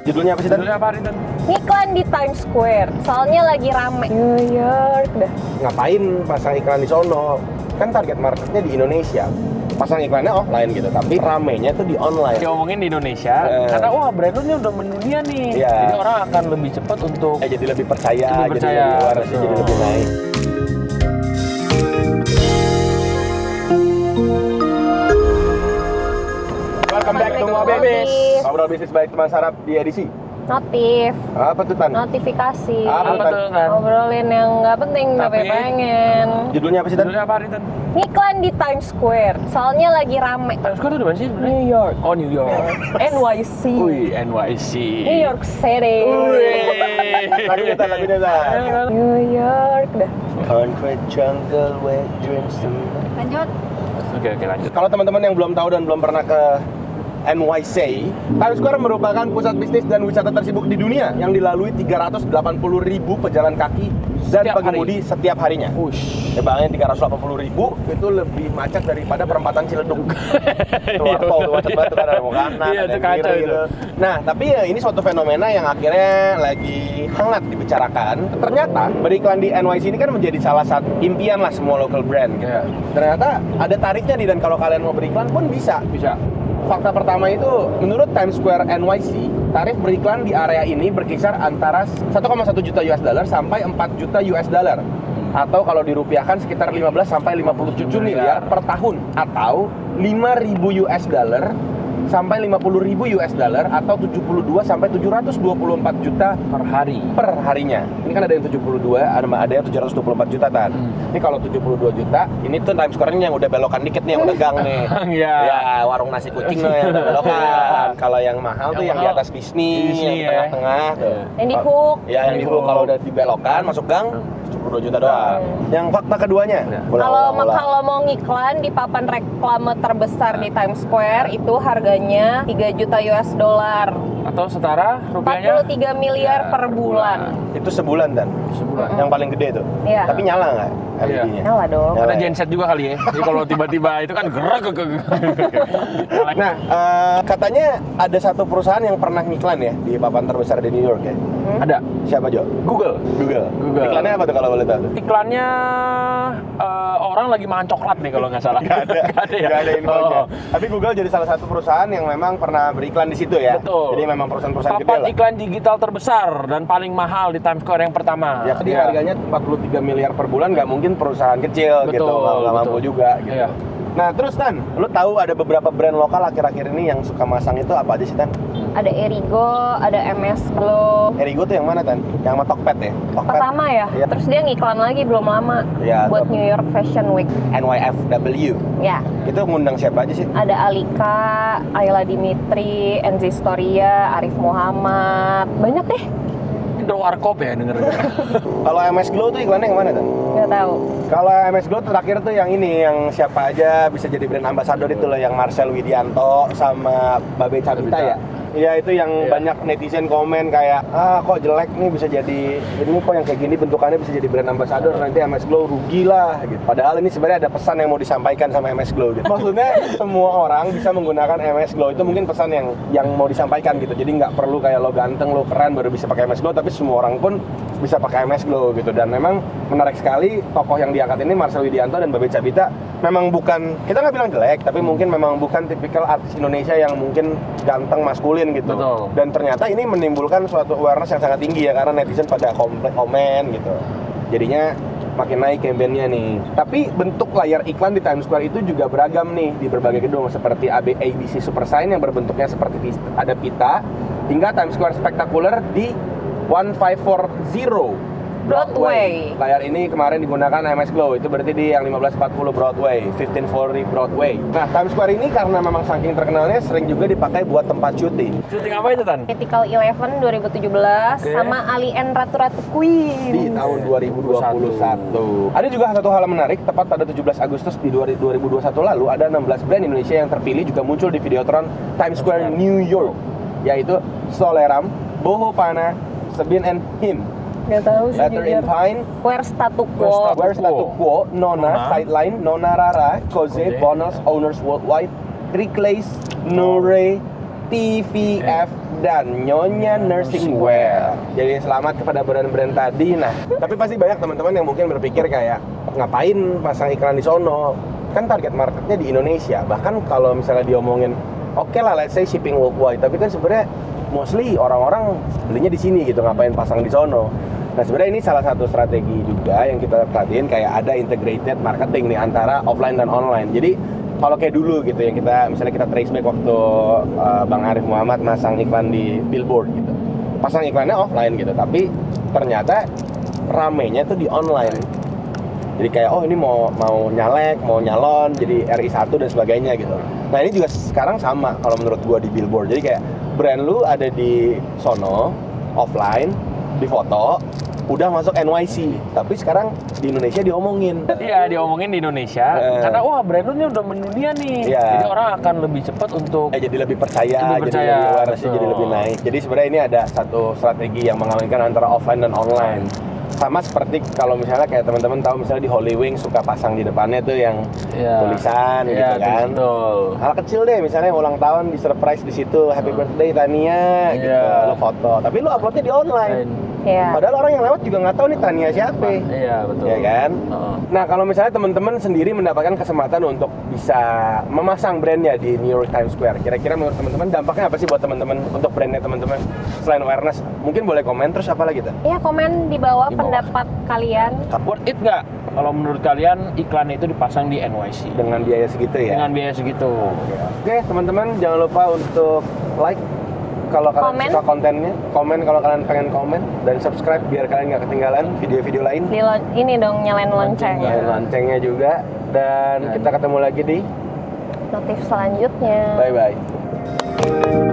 Judulnya apa sih tadi? Judulnya apa Rinten? Iklan di Times Square, soalnya lagi rame. New York dah. Ngapain pasang iklan di sono? Kan target marketnya di Indonesia. Pasang iklannya offline gitu, tapi ramenya tuh di online. Kita ngomongin di Indonesia, Eh. karena wah brand lu ini udah mendunia nih. Iya. Jadi orang akan lebih cepat untuk Eh, jadi lebih percaya, Lebih jadi percaya, lebih waras, betul. jadi lebih naik. Welcome back to Ngobrol Bisnis. Ngobrol. Ngobrol bisnis baik teman sarap di edisi. Notif, Apa tuh Tan? notifikasi. Apa apa tuh kan? Ngobrolin yang nggak penting, nggak Tapi- pengen. Judulnya apa sih Tan? Judulnya apa Rinten? Iklan di Times Square, soalnya lagi rame. Times Square itu di mana sih sebenarnya? York, Oh New York. NYC, Wih NYC. New York City, Lagunya Tan, lagunya Tan. Iya, kan? New York dah. Concrete jungle where dreams Lanjut. Oke oke lanjut. Kalau teman-teman yang belum tahu dan belum pernah ke NYC, Times Square merupakan pusat bisnis dan wisata tersibuk di dunia yang dilalui 380 ribu pejalan kaki dan Setiap hari. pengemudi setiap harinya. Ush. Tebalnya 380 ribu itu lebih macet daripada perempatan Ciledug. Keluar tol tuh macet banget tuh kan ada mau kanan, ada Iya, itu yang kiri kacau itu. gitu. Nah, tapi ya ini suatu fenomena yang akhirnya lagi hangat dibicarakan. Ternyata beriklan di NYC ini kan menjadi salah satu impian lah semua local brand gitu. Iya. Ternyata ada tarifnya nih dan kalau kalian mau beriklan pun bisa. Bisa. Fakta pertama itu menurut Times Square NYC, tarif beriklan di area ini berkisar antara 1,1 juta US dollar sampai 4 juta US dollar atau kalau dirupiahkan sekitar 15 sampai 57 miliar per tahun atau 5.000 US dollar sampai 50.000 US dollar atau 72 sampai 724 juta Per hari. per harinya. Ini kan ada yang 72, ada ada yang 724 juta tan. Hmm. Ini kalau 72 juta, ini tuh Times Square-nya yang udah belokan dikit nih yang udah gang nih. Iya. Ya, warung nasi kucing loh yang belokan. Kalau yang mahal tuh Yang yang di mahal. atas bisnis, Bisnis, yang di ya. tengah-tengah tuh. Yang di hook. Ya, yang di Hook. kalau udah dibelokan masuk gang Hmm. 72 juta doang. Iya. Yang fakta keduanya. Ya. Ulang, Kalau ulang, ulang. kalau mau ngiklan di papan reklame terbesar di Times Square itu harganya 3 juta US dollar, Atau setara rupiahnya 43 Ya, miliar per bulan. itu sebulan dan Sebulan. yang paling gede tuh. Iya. Tapi nyala nggak LED-nya? Nyala dong. Ya. Karena genset juga kali ya. Jadi kalau tiba-tiba itu kan gerak ke Nah, eh, katanya ada satu perusahaan yang pernah ngiklan ya di papan terbesar di New York ya. ada Siapa Jo? Google. Google. Google. Iklannya apa tuh kalau boleh tahu? Iklannya eh, orang lagi makan coklat nih kalau nggak salah. Gak ada. Gak ada ya. Nggak ada infonya. Oh. Tapi Google jadi salah satu perusahaan yang memang pernah beriklan di situ ya. Betul. Jadi memang perusahaan-perusahaan gede Papan lah. iklan digital terbesar dan paling mahal di Times Square yang pertama. Ya, jadi Iya. harganya 43 miliar per bulan nggak mungkin perusahaan kecil Betul, gitu, nggak nggak mampu betul. juga gitu. Iya. Nah, terus Tan, lu tahu ada beberapa brand lokal akhir-akhir ini yang suka masang itu apa aja sih Tan? Ada Erigo, ada MS Glow. Erigo tuh yang mana Tan? Yang sama Tokped ya? Tokped Pertama ya. Iya. Terus dia ngiklan lagi belum lama Iya, buat betul. New York Fashion Week. NYFW. Ya, Itu ngundang siapa aja sih? ada Alika, Ayla Dimitri, Enzi Storia, Arif Muhammad. Banyak deh, Indo Warkop ya denger Kalau MS Glow tuh iklannya yang mana Tan? nggak tahu. Kalau MS Glow terakhir tuh yang ini, yang siapa aja bisa jadi brand ambassador itu loh, yang Marcel Widianto sama Babe Cabita Cabita. ya. Iya itu yang Iya. banyak netizen komen kayak ah kok jelek nih bisa jadi ini kok yang kayak gini bentukannya bisa jadi brand ambassador nanti MS Glow rugi lah gitu. Padahal ini sebenarnya ada pesan yang mau disampaikan sama MS Glow gitu. Maksudnya semua orang bisa menggunakan MS Glow itu mungkin pesan yang yang mau disampaikan gitu. Jadi nggak perlu kayak lo ganteng lo keren baru bisa pakai MS Glow tapi semua orang pun bisa pakai MS Glow gitu dan memang menarik sekali tokoh yang diangkat ini Marcel Widianto dan Babe Cabita memang bukan kita nggak bilang jelek tapi mungkin memang bukan tipikal artis Indonesia yang mungkin ganteng maskulin gitu Betul. dan ternyata ini menimbulkan suatu awareness yang sangat tinggi ya karena netizen pada komple- komen gitu jadinya makin naik campaign-nya nih tapi bentuk layar iklan di Times Square itu juga beragam nih di berbagai gedung seperti AB ABC Super Sign yang berbentuknya seperti pis- ada pita hingga Times Square spektakuler di 1540 Broadway. Layar ini kemarin digunakan MS Glow, itu berarti di yang 1540 Broadway, 1540 Broadway. Nah, Times Square ini karena memang saking terkenalnya sering juga dipakai buat tempat syuting. Syuting apa itu Tan? Critical Eleven 2017 Oke. sama Ali and Ratu Ratu Queen. di tahun 2021. Ada juga satu hal menarik, tepat pada 17 Agustus di 2021 lalu ada 16 brand Indonesia yang terpilih juga muncul di Videotron Times Square New York, yaitu Soleram, Boho Pana, Sebin and Him, Nggak tahu sih Letter in jujur. Pine, Where statu Where's quo? Statu Where's Statu Quo. Quo, Nona, Nona. Sideline, Nona Rara, Koze, Koze. Bonus, Owners Worldwide, Reclays, Nore, TVF dan Nyonya Nursing Wear. Jadi selamat kepada brand-brand tadi. Nah, tapi pasti banyak teman-teman yang mungkin berpikir kayak ngapain pasang iklan di sono? Kan target marketnya di Indonesia. Bahkan kalau misalnya diomongin, oke lah, let's say shipping worldwide. Tapi kan sebenarnya mostly orang-orang belinya di sini gitu. Ngapain pasang di sono? Nah sebenarnya ini salah satu strategi juga yang kita perhatiin kayak ada integrated marketing nih antara offline dan online. Jadi kalau kayak dulu gitu yang kita misalnya kita trace back waktu uh, Bang Arif Muhammad masang iklan di billboard gitu pasang iklannya offline gitu tapi ternyata ramenya tuh di online jadi kayak oh ini mau mau nyalek mau nyalon jadi RI 1 dan sebagainya gitu nah ini juga sekarang sama kalau menurut gua di billboard jadi kayak brand lu ada di sono offline di foto udah masuk NYC tapi sekarang di Indonesia diomongin Iya, diomongin di Indonesia Eh. karena wah brand lu ini udah mendunia nih. Iya. Jadi orang akan lebih cepat untuk eh, jadi lebih percaya, Lebih percaya, jadi awarenessnya jadi betul. lebih naik. Jadi sebenarnya ini ada satu strategi yang mengawinkan antara offline dan online. Sama seperti kalau misalnya kayak teman-teman tahu misalnya di Holy Wings suka pasang di depannya tuh yang Iya. tulisan gitu Iya, kan. Betul. Hal kecil deh misalnya ulang tahun di surprise di situ happy birthday Tania gitu lo Iya. foto. Tapi lo uploadnya di online. Iya. Padahal orang yang lewat juga nggak tahu nih Tania siapa. Iya, betul. Iya kan? Heeh. Nah, kalau misalnya teman-teman sendiri mendapatkan kesempatan untuk bisa memasang brandnya di New York Times Square, kira-kira menurut teman-teman dampaknya apa sih buat teman-teman untuk brandnya teman-teman selain awareness? Mungkin boleh komen terus apa lagi tuh? Iya komen di Di bawah bawah. pendapat kalian. Worth it nggak kalau menurut kalian iklan itu dipasang di NYC Dengan biaya segitu ya. dengan gitu. biaya segitu? Oke, Oke, teman-teman jangan lupa untuk like kalau kalian Komen. suka kontennya, komen kalau kalian pengen komen dan subscribe biar kalian nggak ketinggalan video-video lain. Di lon- ini dong nyalain lonceng. Dan loncengnya juga dan Dan- kita ketemu lagi di Notif selanjutnya. bye bye.